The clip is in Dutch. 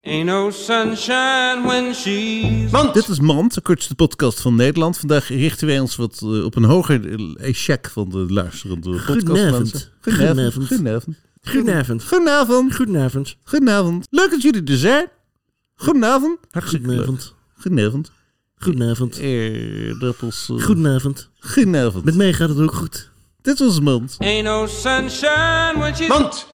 Ain't no sunshine when she's. Dit is Mand, de kortste podcast van Nederland. Vandaag richten wij ons wat eh, op een hoger eh, echec van de luisterende podcastmensen. Goedenavond. Goedenavond. Goedenavond. Goedenavond. Goedenavond. Goedenavond. Leuk dat jullie er zijn. Goedenavond. Hartstikke leuk. Goedenavond. Goedenavond. Goedenavond. Aardappels. eh, Goedenavond. Goedenavond. Met mij gaat het ook goed. Dit was Mand. Ain't no sunshine when she's. Mand.